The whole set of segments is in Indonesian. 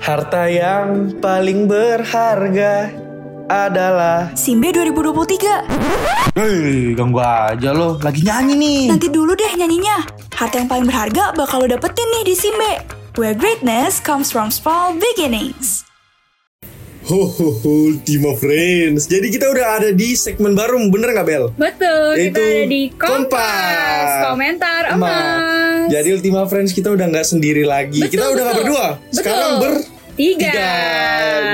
Harta yang paling berharga adalah Simbe 2023. Hei, ganggu aja lo. Lagi nyanyi nih. Nanti dulu deh nyanyinya. Harta yang paling berharga bakal lo dapetin nih di Simbe. Where greatness comes from small beginnings. Ho ho ho, Ultima Friends. Jadi kita udah ada di segmen baru, bener nggak Bel? Betul, kita Yaitu ada di Kompas, Kompas. Komentar Ma. Emas. Jadi Ultima Friends kita udah nggak sendiri lagi. Betul, kita udah nggak betul. berdua. Sekarang Betul. bertiga. tiga.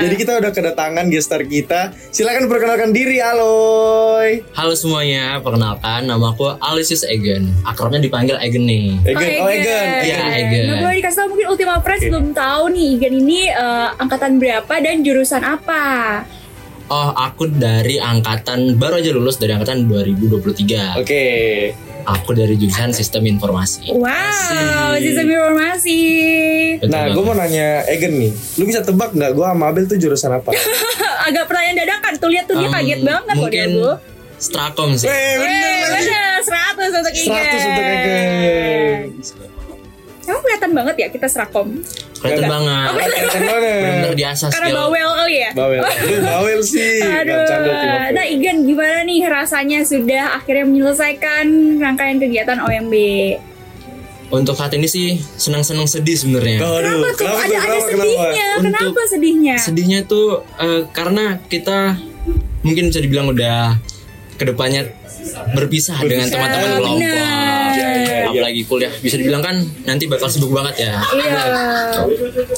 Jadi kita udah kedatangan gestar kita. Silakan perkenalkan diri, Aloy. Oh, Halo semuanya, perkenalkan nama aku Aloysius Egen Akrabnya dipanggil Egen nih Egen, oh Egen. Iya, Egen. Egen. Nah, boleh dikasih tahu mungkin Ultima Friends belum tahu nih Egen ini eh, angkatan berapa dan jurusan apa? Oh, aku dari angkatan, baru aja lulus dari angkatan 2023 Oke. Aku dari jurusan sistem informasi Wow, sistem informasi. Betul Nah, banget. gue mau nanya Egen nih. Lu bisa tebak nggak gue sama Abel tuh jurusan apa? Eh, Agak pertanyaan dadakan tuh lihat tuh dia Um, kaget banget kok dia Mungkin Bu. Strakom sih Eh, Eh, bener lagi. bener, 100 untuk Egen. 100 untuk Egen. Emang kelihatan banget ya kita serakom. Kelihatan banget Keren banget. Bener-bener diasah Karena skill bawel kali ya. Bawel. Lu bawel sih. Nggak Aduh. bercanda, Ultima Friends. Nah, Igen gimana nih rasanya sudah akhirnya menyelesaikan rangkaian kegiatan OMB? Untuk saat ini sih, senang-senang sedih sebenarnya Aduh, Kenapa tuh? ada kenapa, ada kenapa? sedihnya. Kenapa, Untuk sedihnya? Sedihnya tuh eh, karena kita mungkin bisa dibilang udah kedepannya berpisah, dengan teman-teman Benar. kelompok. Iya, iya, iya. Apalagi kuliah bisa dibilang kan nanti bakal sibuk banget ya. Iya.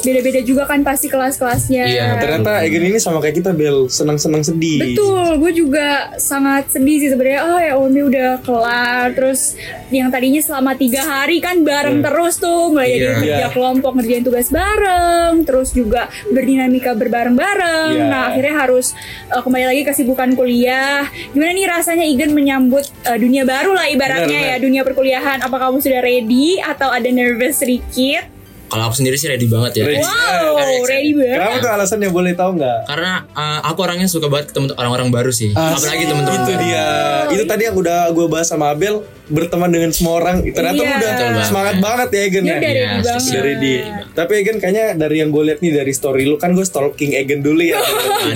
Beda-beda juga kan pasti kelas-kelasnya. Iya, Ternyata Egen ini sama kayak kita Bel, senang-senang sedih. Betul, gue juga sangat sedih sih sebenarnya. Oh ya OMB udah kelar, terus yang tadinya selama tiga hari kan bareng terus tuh, mulai dari Iya. kerja Iya. kelompok, ngerjain tugas bareng, terus juga berdinamika berbareng-bareng. Iya. Nah akhirnya harus uh, kembali lagi ke kesibukan kuliah. Gimana nih rasanya Igen menyambut uh, dunia baru lah ibaratnya Benar, ya dunia perkuliahan. Apa kamu sudah ready atau ada nervous sedikit? Kalau aku sendiri sih ready banget ya. Ready. Wow, ready banget. Kenapa tuh alasannya boleh tahu nggak? Karena eh, aku orangnya suka banget ketemu orang-orang baru sih. Apalagi teman-teman Itu baru. dia. Oh, Itu iya. tadi yang udah gue bahas sama Abel berteman dengan semua orang. Ternyata Iya. lu udah Betul banget. semangat banget ya Egen Dia ya. udah Iya, ready banget. Udah ready. Tapi Egen kayaknya dari yang gue lihat nih dari story lu kan gue stalking Egen dulu ya.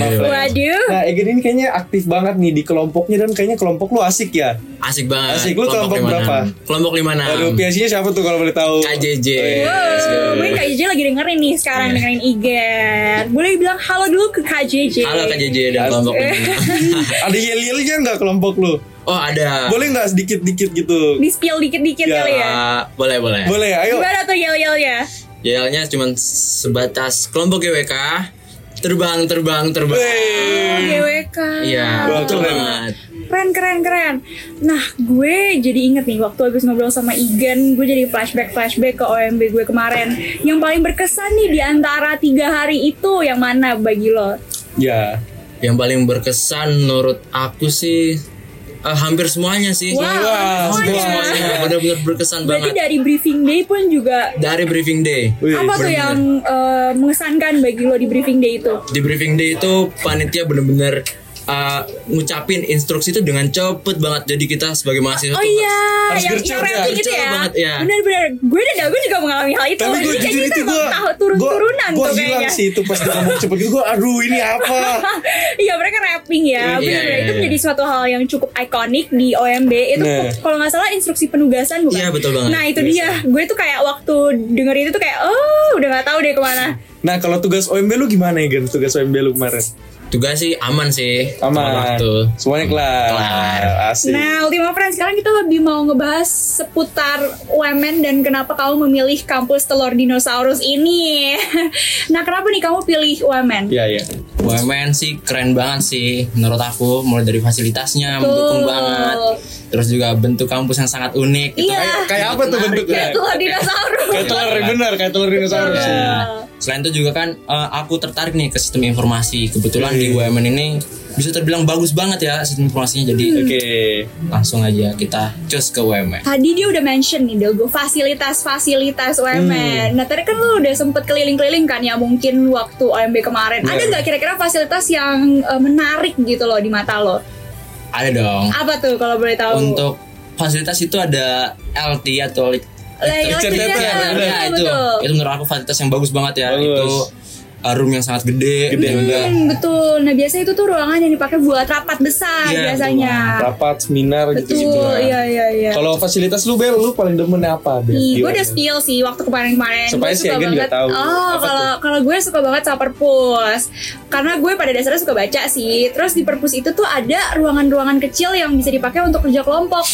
Waduh. Nah Egen ini kayaknya aktif banget nih di kelompoknya dan kayaknya kelompok lu asik ya. Asik banget. Asik. Lu kelompok berapa? 56. Kelompok 56. Aduh PSI-nya siapa tuh kalau boleh tahu? KJJ. Oh, iya. Iya, Wow, mungkin Kak JJ lagi dengerin nih sekarang dengerin Igen. Boleh bilang halo dulu ke Kak JJ. Halo KJJ dan kelompok 56. Ada yel-yelnya nggak kelompok lu? Oh, ada. Boleh nggak sedikit-dikit gitu? Di spill dikit-dikit Ya. kali ya. Eh, boleh, boleh. Boleh, ayo. Gimana tuh yel-yel ya? Yelnya cuma sebatas kelompok GWK terbang terbang terbang. Wey. GWK. Hmm. Iya, Wah, betul keren. banget. Keren, keren, keren. Nah, gue jadi inget nih waktu habis ngobrol sama Igen, gue jadi flashback-flashback ke OMB gue kemarin. Yang paling berkesan nih di antara tiga hari itu yang mana bagi lo? Ya. Yang paling berkesan menurut aku sih eh, hampir semuanya sih. Wah, Hampir semuanya. semuanya benar-benar berkesan Berarti banget. dari briefing day pun juga Dari briefing day. Wih, apa tuh yang eh, mengesankan bagi lo di briefing day itu? Di briefing day itu panitia benar-benar eh, ngucapin instruksi itu dengan cepet banget. Jadi kita sebagai mahasiswa Oh Ya, tuh iya, Harus yang, gercep yang ya, rapi gitu gercep ya. banget, ya. Benar-benar, gue dan gue juga mengalami hal itu. Tapi gue Jadi kayak jujur Oh, kita itu emang gue tahu turun-turunan Gue tuh hilang kayaknya. sih itu pas dia ngomong cepet gitu Gue aduh ini apa Iya mereka rapping ya. Iya, Benar, iya, itu iya. menjadi suatu hal yang cukup ikonik di OMB. Itu Nah. kalau nggak salah instruksi penugasan bukan? Iya, betul banget. Nah itu dia, gue tuh kayak waktu denger itu tuh kayak, oh udah nggak tahu deh kemana. Nah kalau tugas OMB lu gimana ya Gen Tugas OMB lu kemarin tugas sih aman sih. Aman Cuma waktu. Semuanya kelar Kelar. Asik Nah, Ultima Friends, sekarang kita lebih mau ngebahas seputar UMN dan kenapa kamu memilih kampus telur dinosaurus ini. nah, kenapa nih kamu pilih UMN? Iya iya UMN sih keren banget sih menurut aku mulai dari fasilitasnya Betul. mendukung banget terus juga bentuk kampus yang sangat unik gitu. Iya. Kayak- Kayak apa tuh bentuknya Kayak telur dinosaurus. Kayak telur bener Kayak telur dinosaurus Nah, Selain itu juga kan eh, aku tertarik nih ke sistem informasi kebetulan di UMN ini bisa terbilang bagus banget ya sistem informasinya jadi Hmm. Oke langsung aja kita cus ke UMN. Tadi dia udah mention nih Delgo fasilitas-fasilitas Hmm. UMN. Nah tadi kan lu udah sempet keliling-keliling kan ya mungkin waktu OMB kemarin. Ada Iya. nggak kira-kira fasilitas yang eh, menarik gitu loh di mata lo? Ada dong. Apa tuh kalau boleh tahu? Untuk fasilitas itu ada LT atau Lah, iya, Cerita iya, itu ya, Iya, betul, itu betul. itu menurut aku fasilitas yang bagus banget ya Bagus. itu uh, room yang sangat gede, Gede. yang enggak Hmm, betul. Nah biasanya itu tuh ruangan yang dipakai buat rapat besar Iya, biasanya. rapat seminar gitu gitu Betul, iya iya iya. kalau fasilitas lu bel lu paling demen apa bel Di Ih, gue udah UMN? spill sih waktu kemarin-kemarin. Iya, Supaya Gue si suka Egen juga banget. tahu. Oh, Apa kalau kalau gue suka banget sama perpus. Karena gue pada dasarnya suka baca sih. Terus di perpus itu tuh ada ruangan-ruangan kecil yang bisa dipakai untuk kerja kelompok.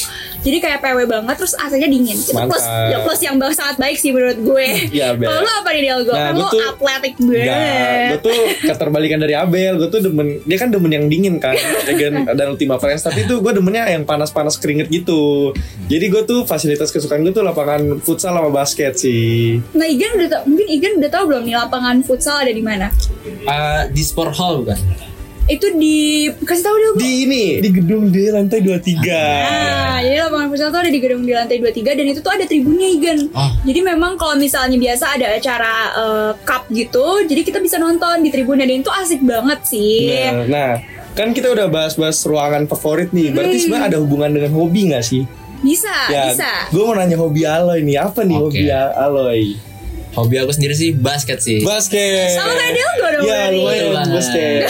Jadi kayak PW banget, terus AC-nya dingin. Itu Mantap. plus, ya plus yang bang- sangat baik sih menurut gue. Iya, Bel. Kalau lu apa nih Delgo? Nah, Kan gue lu tuh- atletik Enggak, gue banget. tuh keterbalikan dari Abel, gue tuh demen, dia kan demen yang dingin kan, Egen dan Ultima Friends, tapi tuh gue demennya yang panas-panas keringet gitu. Jadi gue tuh fasilitas kesukaan gue tuh lapangan futsal sama basket sih. Nah, Igen udah tau, mungkin Igen udah tahu belum nih lapangan futsal ada di mana? uh, di sport hall bukan? Itu di kasih tahu dulu. Di ini, di gedung D lantai 23. Nah, jadi lapangan futsal tuh ada di gedung di lantai 23 dan itu tuh ada tribunnya Igen. Ah. Jadi memang kalau misalnya biasa ada acara eh, cup gitu, jadi kita bisa nonton di tribunnya dan itu asik banget sih. Nah, nah, kan kita udah bahas-bahas ruangan favorit nih, Hmm. berarti sebenarnya ada hubungan dengan hobi gak sih? Bisa, Ah, bisa. gue Ya, mau nanya hobi Aloy nih, apa nih Oke. hobi Aloy? Hobi aku sendiri sih basket sih. Basket. Sama kayak Dilgo dong Ya, berarti. Iya. lumayan basket. Ya,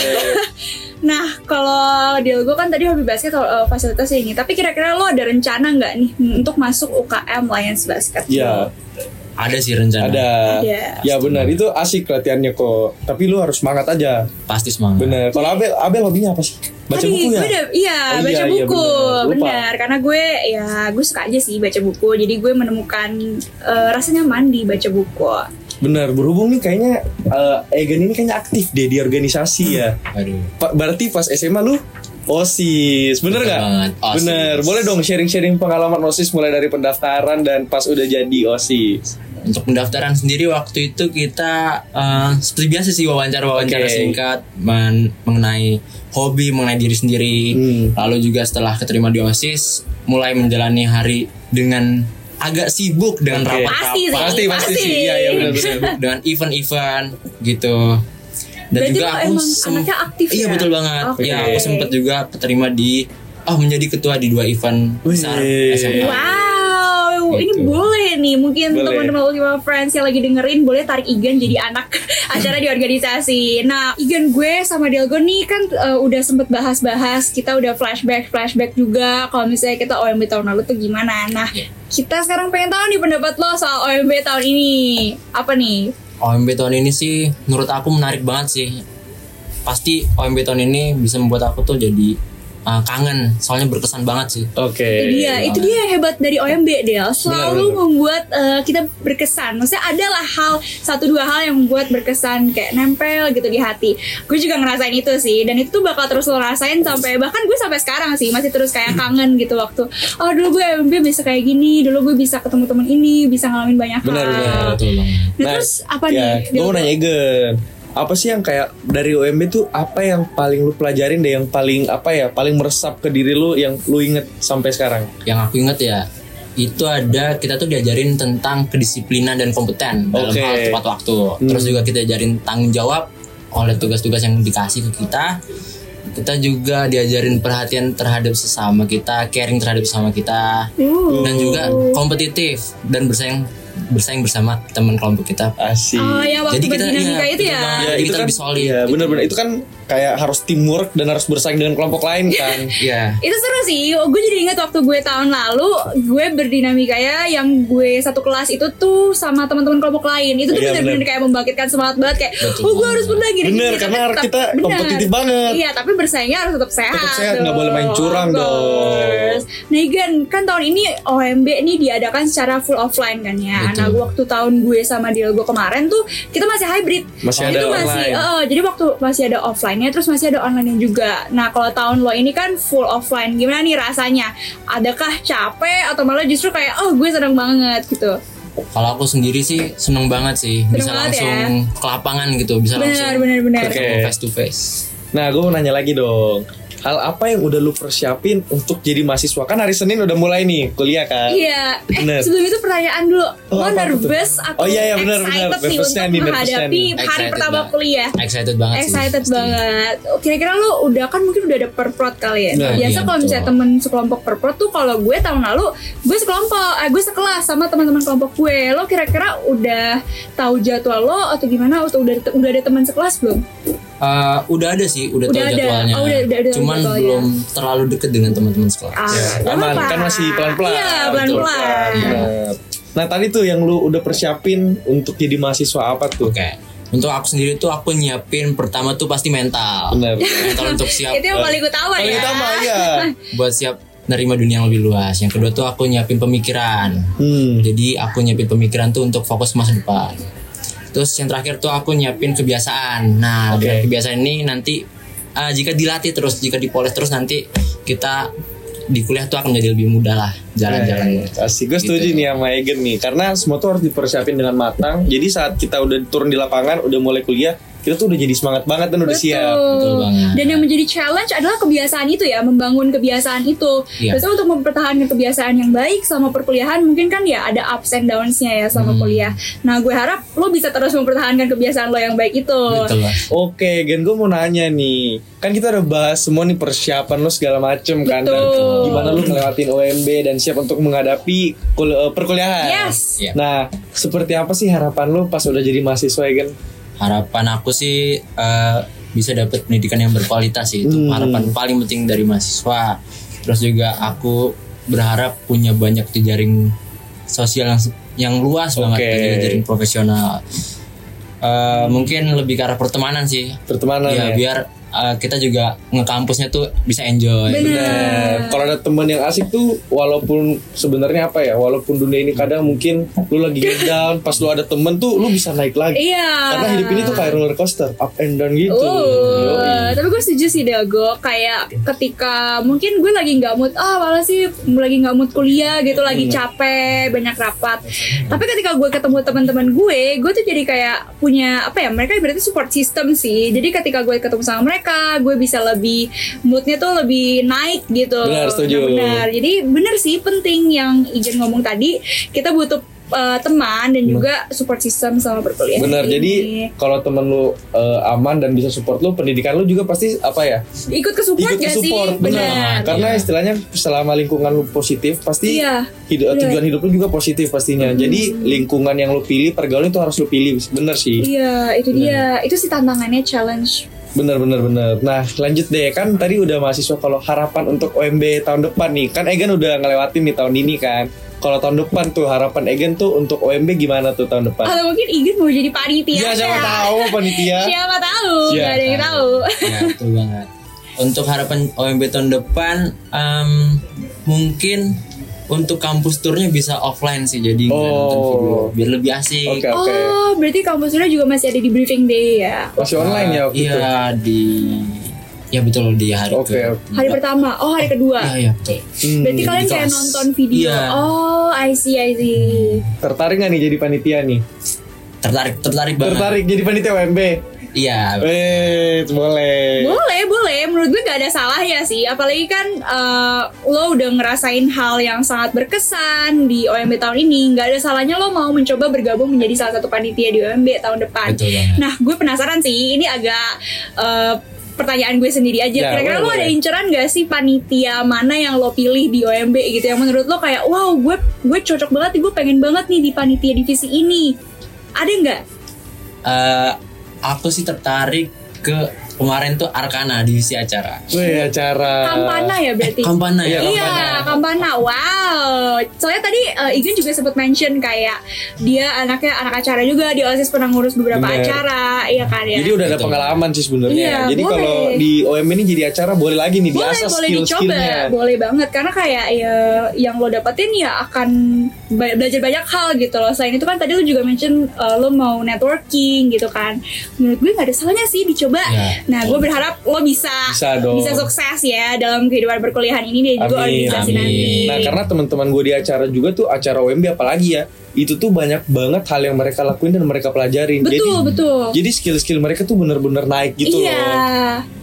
Nah, kalau Dilgo kan tadi hobi basket eh, fasilitasnya ini, tapi kira-kira lo ada rencana nggak nih untuk masuk UKM Lions Basket? Iya. Ya, Ada sih rencana. Ada. Ada. Ya benar, itu asik latihannya kok. Tapi lu harus semangat aja. Pasti semangat. Bener. Kalau Iya. Abel, Abel hobinya apa sih? Baca Tadi buku ya? gue udah- iya, Oh, baca iya, iya, buku. bener. Lupa. benar, karena gue ya gue suka aja sih baca buku. Jadi gue menemukan eh, rasa nyaman di baca buku. Bener, berhubung nih kayaknya eh, Egan ini kayaknya aktif deh di organisasi ya. Aduh. Pa- berarti pas SMA lu OSIS, bener Betul nggak? banget, OSIS. Bener, boleh dong sharing-sharing pengalaman OSIS mulai dari pendaftaran dan pas udah jadi OSIS. Untuk pendaftaran sendiri waktu itu kita eh, seperti biasa sih wawancara-wawancara Oke. singkat men- mengenai hobi, mengenai diri sendiri. Hmm. Lalu juga setelah keterima di OSIS, mulai menjalani hari dengan agak sibuk dengan Oke. rapat-rapat. Pasti sih, Pasti, pasti sih. Iya, iya, bener, bener. dengan event-event gitu. Dan Berarti juga lo aku emang sem- anaknya aktif Iya ya? betul banget. Oke. Ya aku sempat juga keterima di oh menjadi ketua di dua event besar Wih. SMA. Wow, ini Iya. Gitu. boleh nih. Mungkin Boleh. teman-teman Ultima Friends yang lagi dengerin boleh tarik Igan jadi anak acara di organisasi. Nah, Igan gue sama Delgo nih kan eh, udah sempet bahas-bahas. Kita udah flashback, flashback juga. Kalau misalnya kita OMB tahun lalu tuh gimana? Nah, kita sekarang pengen tahu nih pendapat lo soal OMB tahun ini. Apa nih? OMB tahun ini sih menurut aku menarik banget sih. Pasti OMB tahun ini bisa membuat aku tuh jadi uh, kangen, soalnya berkesan banget sih. Oke. Nah, Itu dia, Iya, itu dia yang hebat dari OMB Del. Selalu Iya, benar. membuat eh, kita berkesan. Maksudnya adalah hal satu dua hal yang membuat berkesan kayak nempel gitu di hati. Gue juga ngerasain itu sih dan itu tuh bakal terus lo rasain sampai bahkan gue sampai sekarang sih masih terus kayak Hmm. kangen gitu waktu oh dulu gue OMB bisa kayak gini, dulu gue bisa ketemu temen ini, bisa ngalamin banyak Benar, hal. benar, Iya, Betul banget. Nah, terus apa nih? Gue Del? ya, mau nanya Egen Apa sih yang kayak dari UMB tuh apa yang paling lu pelajarin deh yang paling apa ya paling meresap ke diri lu yang lu inget sampai sekarang? Yang aku inget ya itu ada kita tuh diajarin tentang kedisiplinan dan kompeten dalam Oke. Hmm. hal tepat waktu. Terus juga kita diajarin tanggung jawab oleh tugas-tugas yang dikasih ke kita. Kita juga diajarin perhatian terhadap sesama kita, caring terhadap sesama kita, dan juga kompetitif dan bersaing bersaing bersama teman kelompok kita Asik. Oh, yang waktu Jadi kita- berdinamika itu iya, betul ya. banget. Ya, Jadi itu kita kan, lebih solid, Iya, gitu. benar-benar itu kan kayak harus teamwork dan harus bersaing dengan kelompok lain kan. Iya. Itu seru sih. Oh, Gue jadi ingat waktu gue tahun lalu, gue berdinamika ya yang gue satu kelas itu tuh sama teman-teman kelompok lain. Itu tuh Iya, benar-benar bener. kayak membangkitkan semangat banget kayak, Betul "Oh, gue banget. harus benar gini." Bener, gini." karena Tapi tetap- kita bener. kompetitif banget. Iya, tapi bersaingnya harus tetap sehat. Tetap sehat, nggak dong. boleh main curang Bagus. Nah, Igan, kan tahun ini OMB ini diadakan secara full offline kan ya. Betul. Nah, gua waktu tahun gue sama Diego kemarin tuh kita masih hybrid. Masih Jadi ada tuh online. eh, Oh, jadi waktu masih ada offline-nya terus masih ada online-nya juga. Nah, kalau tahun lo ini kan full offline. Gimana nih rasanya? Adakah capek atau malah justru kayak oh, gue seneng banget gitu. Kalau aku sendiri sih seneng banget sih bisa Seneng banget langsung ya. ke lapangan gitu, bisa Benar, langsung benar, benar. ketemu Oke. face to face. Nah, gue mau nanya lagi dong. hal apa yang udah lu persiapin untuk jadi mahasiswa kan hari Senin udah mulai nih kuliah kan Iya, eh Bener. sebelum itu pertanyaan dulu. Oh, lo apa tuh? nervous atau Oh, iya, iya, bener, bener. excited sih Nervousnya untuk nih, nervousnya menghadapi nih. hari Excited pertama banget. kuliah? Excited banget sih, Eh, Excited pasti. banget. Kira-kira lu udah kan mungkin udah ada perprot kali ya. Nah, Biasa iya, kalau misalnya betul. temen sekelompok perprot tuh kalau gue tahun lalu gue sekelompok, eh, gue sekelas sama teman-teman kelompok gue. Lo kira-kira udah tahu jadwal lo atau gimana? Atau udah udah ada teman sekelas belum? Eh, udah ada sih, udah, Udah tahu ada. jadwalnya. Oh, udah- udah- udah tahu Cuman jadwalnya. belum terlalu deket dengan teman-teman sekolah. Ah, gak aman apa-apa. kan masih pelan-pelan Iya, pelan-pelan. nah tadi tuh yang lu udah persiapin untuk jadi mahasiswa apa tuh Oke. Untuk aku sendiri tuh aku nyiapin pertama tuh pasti mental. Benar. Mental untuk siap Itu yang paling utama Paling ya. utama ya. buat siap nerima dunia yang lebih luas. Yang kedua tuh aku nyiapin pemikiran. Hmm. Jadi aku nyiapin pemikiran tuh untuk fokus ke masa depan. Terus yang terakhir tuh aku nyiapin kebiasaan. Nah, Oke. dari kebiasaan ini nanti eh, jika dilatih terus, jika dipoles terus nanti kita di kuliah tuh akan menjadi lebih mudah lah jalan-jalannya. Eh, Asik, gue setuju Gitu. nih sama Egen nih Karena semua tuh harus dipersiapin dengan matang Jadi saat kita udah turun di lapangan, udah mulai kuliah Kita tuh udah jadi semangat banget dan udah siap Betul banget. Dan yang menjadi challenge adalah kebiasaan itu ya, membangun kebiasaan itu. Iya. Biasanya untuk mempertahankan kebiasaan yang baik selama perkuliahan mungkin kan ya ada ups and downs-nya ya Hmm. selama kuliah. Nah, gue harap lo bisa terus mempertahankan kebiasaan lo yang baik itu. Betul Gitu lah. Oke, Gen gue mau nanya nih. Kan kita udah bahas semua nih persiapan lo segala macem kan. Dan Betul. gimana lo ngelewatin OMB dan siap untuk menghadapi kul- eh, perkuliahan. Yes. Iya. Nah, seperti apa sih harapan lo pas udah jadi mahasiswa ya, Gen? harapan aku sih eh, bisa dapat pendidikan yang berkualitas sih itu Hmm. harapan paling penting dari mahasiswa terus juga aku berharap punya banyak jejaring sosial yang yang luas banget Oke. dari jejaring profesional Eh, mungkin lebih ke arah pertemanan sih Pertemanan ya, ya. biar eh, kita juga ngekampusnya tuh bisa enjoy Nah, Benar. kalau ada teman yang asik tuh walaupun sebenarnya apa ya walaupun dunia ini kadang mungkin lu lagi get down pas lu ada temen tuh lu bisa naik lagi Iya. karena hidup ini tuh kayak roller coaster up and down gitu Uh, tapi gue setuju sih Dago kayak ketika mungkin gue lagi nggak mood ah malah sih lagi nggak mood kuliah gitu lagi Iya. capek banyak rapat tapi ketika gue ketemu teman-teman gue gue tuh jadi kayak punya apa ya mereka berarti support system sih jadi ketika gue ketemu sama mereka gue bisa lebih moodnya tuh lebih naik gitu Benar, setuju. benar jadi benar sih penting yang Ijen ngomong tadi kita butuh eh, teman dan juga support system sama perkuliahan Iya. Benar, ini. jadi kalau temen lu eh, aman dan bisa support lu, pendidikan lu juga pasti apa ya? ikut ke support Ikut ke gak support, sih? Benar. Benar. Karena Iya. istilahnya selama lingkungan lu positif, pasti Iya, hidu- benar. tujuan hidup lu juga positif pastinya. Jadi lingkungan yang lu pilih, pergaulan itu harus lu pilih. Bener sih. Iya, itu dia. Itu sih tantangannya challenge. Bener bener bener. Nah, lanjut deh kan tadi udah mahasiswa kalau harapan untuk OMB tahun depan nih. Kan Egan udah ngelewatin nih tahun ini kan. Kalau tahun depan tuh harapan Egan tuh untuk OMB gimana tuh tahun depan? Atau mungkin Igit mau jadi panitia. Iya, siapa tahu panitia. Siapa tahu? Iya. Gak ada yang tahu. ya betul banget untuk harapan OMB tahun depan em, mungkin untuk kampus turnya bisa offline sih jadi nggak nonton Oh. video biar lebih asik Oke oke. Oh, berarti kampusnya juga masih ada di briefing day ya. Masih online ya waktu iya itu. di ya betul di hari Oke, ke- oke. Hari pertama, oh hari kedua. Iya, iya, betul. Hmm, Berarti di kalian kayak kelas. nonton video. Iya. Oh, I see, I see. Tertarik gak nih jadi panitia nih? tertarik tertarik banget Tertarik jadi panitia WMB? iya Eh, boleh. Boleh, boleh. Menurut gue gak ada salahnya sih. Apalagi kan eh, lo udah ngerasain hal yang sangat berkesan di OMB tahun ini. Gak ada salahnya lo mau mencoba bergabung menjadi salah satu panitia di OMB tahun depan. Betul banget. Nah, gue penasaran sih. Ini agak eh, pertanyaan gue sendiri aja. Ya, Kira-kira lo boleh, ada boleh. inceran gak sih panitia mana yang lo pilih di OMB gitu? Yang menurut lo kayak, wow gue gue cocok banget nih. Gue pengen banget nih di panitia divisi ini. Ada nggak? Eh, aku sih tertarik ke kemarin tuh Arkana divisi acara Weh, acara. Kampana ya berarti? Kampana ya Iya, Kampana. Wow. Soalnya tadi uh, Igun juga sempat mention kayak dia anaknya anak acara juga, dia osis pernah ngurus beberapa Bener. acara, iya kan ya. Jadi udah ada Betul. pengalaman sih sebenarnya. Iya, jadi boleh. kalau di OM ini jadi acara boleh lagi nih boleh, diasah boleh dicoba, skill-skillnya. boleh banget karena kayak ya yang lo dapetin ya akan ba- belajar banyak hal gitu loh. Selain itu kan tadi lo juga mention uh, lo mau networking gitu kan. Menurut gue nggak ada salahnya sih dicoba. Iya. Nah, gue berharap lo bisa gitu. Bisa dong. sukses ya dalam kehidupan perkuliahan ini dan juga Amin. organisasi Amin. nanti. Nah, karena teman-teman gue di acara juga tuh acara OMB apalagi ya. itu tuh banyak banget hal yang mereka lakuin dan mereka pelajarin jadi Betul, betul. jadi skill-skill mereka tuh bener-bener naik gitu iya. loh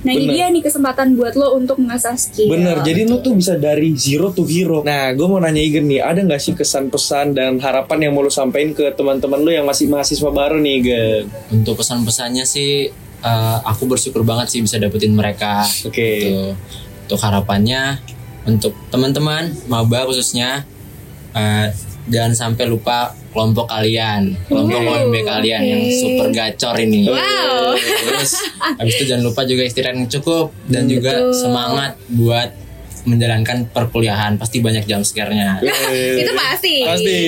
Nah ini Bener. dia nih kesempatan buat lo untuk mengasah skill. Bener, jadi lu tuh bisa dari zero to hero. Nah, gue mau nanya Igen nih, ada nggak sih kesan-pesan dan harapan yang mau lu sampein ke teman-teman lu yang masih mahasiswa baru nih, Igen? Untuk pesan-pesannya sih eh, aku bersyukur banget sih bisa dapetin mereka. Oke. Gitu. Untuk harapannya untuk teman-teman maba khususnya eh, jangan sampai lupa kelompok kalian, kelompok OMB kalian yang super gacor ini. Wow. Terus habis itu jangan lupa juga istirahat yang cukup dan juga semangat buat menjalankan perkuliahan. Pasti banyak jam scare-nya. Itu pasti. Pasti.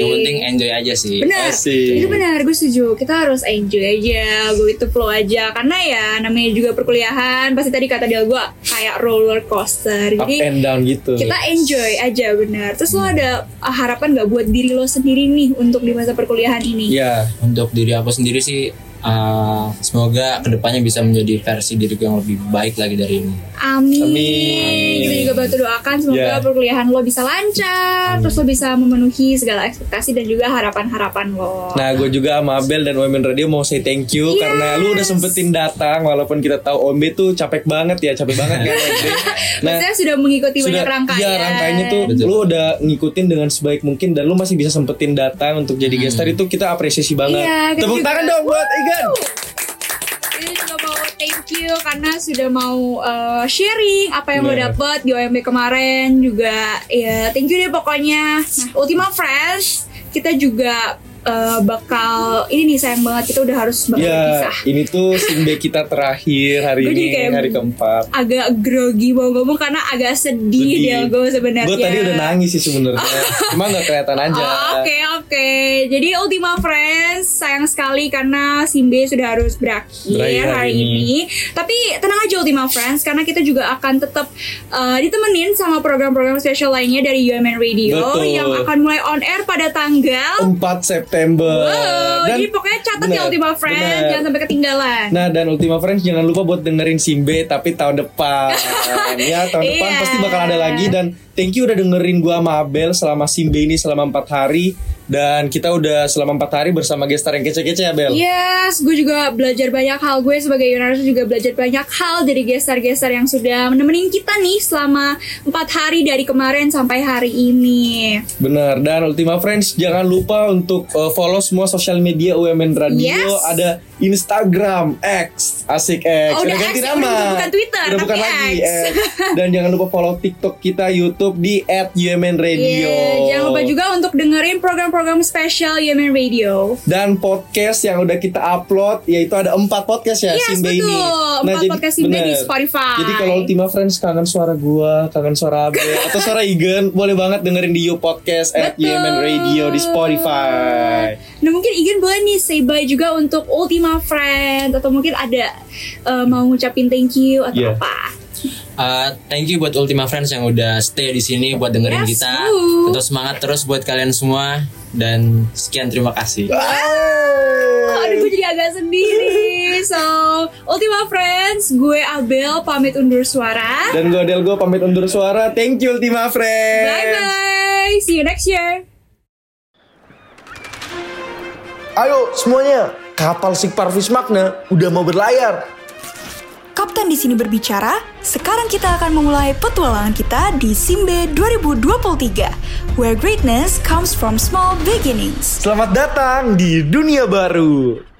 Yang penting enjoy aja sih. Benar. Pasti. Itu benar, gue setuju. Kita harus enjoy aja, go with the flow aja. Karena ya namanya juga perkuliahan, pasti tadi kata dia gue kayak roller coaster. Up Jadi and down Hmm. gitu. kita enjoy aja benar. Terus lo ada uh, harapan nggak buat diri lo sendiri nih untuk di masa perkuliahan ini? Ya, Untuk diri aku sendiri sih eh, semoga kedepannya bisa menjadi versi diriku yang lebih baik lagi dari ini. Amin. Amin. Kita juga bantu doakan semoga Ya. perkuliahan lo bisa lancar, terus lo bisa memenuhi segala ekspektasi dan juga harapan-harapan lo. Nah, gue juga sama Abel dan Women Radio mau say thank you Yes. karena lu udah sempetin datang walaupun kita tahu Ombe tuh capek banget ya, capek banget kan. Ombe? nah, Maksudnya sudah mengikuti banyak rangkaian. Iya, rangkaiannya tuh Betul. lu udah ngikutin dengan sebaik mungkin dan lu masih bisa sempetin datang untuk jadi guest star itu kita apresiasi banget. Iya, kita Tepuk juga. tangan dong buat Igan. Jadi juga mau thank you karena sudah mau uh, sharing apa yang lo Bener. dapet di OMB kemarin juga ya thank you deh pokoknya. Nah, Ultima Fresh kita juga uh, bakal ini nih sayang banget kita udah harus bakal Ya, berpisah. ini tuh single kita terakhir hari Gua jadi ini, kayak- hari keempat. Agak grogi mau ngomong karena agak sedih, Sedih. dia gue Iya, sebenarnya. Gue tadi udah nangis sih sebenarnya. Cuma gak kelihatan aja. Oh, Oke oke, jadi Ultima Friends sayang sekali karena Simbe sudah harus berakhir Berakhir hari hari ini. Tapi tenang aja Ultima Friends karena kita juga akan tetap uh, ditemenin sama program-program spesial lainnya dari UMN Radio Betul. yang akan mulai on air pada tanggal. 4 September. Wow, Oh, Dan- jadi pokoknya catat ya bener, Ultima Friends, bener. jangan sampai ketinggalan. Nah dan Ultima Friends jangan lupa buat dengerin Simbe tapi tahun depan ya tahun depan Iya. pasti bakal ada lagi dan thank you udah dengerin gua sama Abel selama Simbe ini selama empat hari dan kita udah selama empat hari bersama gestar yang kece-kece ya Iya, Bel. Yes, gue juga belajar banyak hal. Gue sebagai Yunarso juga belajar banyak hal dari gestar-gestar yang sudah menemenin kita nih selama empat hari dari kemarin sampai hari ini. Bener dan Ultima Friends jangan lupa untuk uh, follow semua sosial media UMN Radio Yes. ada Instagram X asik X Oh, udah X, udah bukan Twitter, udah bukan tapi lagi X. X. dan jangan lupa follow TikTok kita YouTube di @UMN Radio. Yeah, Iya, jangan lupa juga untuk dengerin program-program spesial Yemen Radio. dan podcast yang udah kita upload yaitu ada empat podcast ya Yes, Simbe betul. ini. Empat podcast Simbe di Spotify. Jadi kalau Ultima Friends kangen suara gua, kangen suara Abel atau suara Igen, boleh banget dengerin di You Podcast at Betul. Yemen Radio di Spotify. Nah mungkin Igen boleh nih say bye juga untuk Ultima Friend atau mungkin ada eh, mau ngucapin thank you atau Yeah. apa. Eh, thank you buat Ultima Friends yang udah stay di sini buat dengerin Yes, kita. woo. Tetap semangat terus buat kalian semua dan sekian terima kasih. Oh, aduh gue jadi agak sedih nih. So, Ultima Friends, gue Abel pamit undur suara. Dan gua Del gua pamit undur suara. Thank you Ultima Friends. Bye-bye. See you next year. Ayo semuanya, kapal Sig Parvis Magna udah mau berlayar. Kapten di sini berbicara, sekarang kita akan memulai petualangan kita di Simbe 2023, where greatness comes from small beginnings. Selamat datang di dunia baru.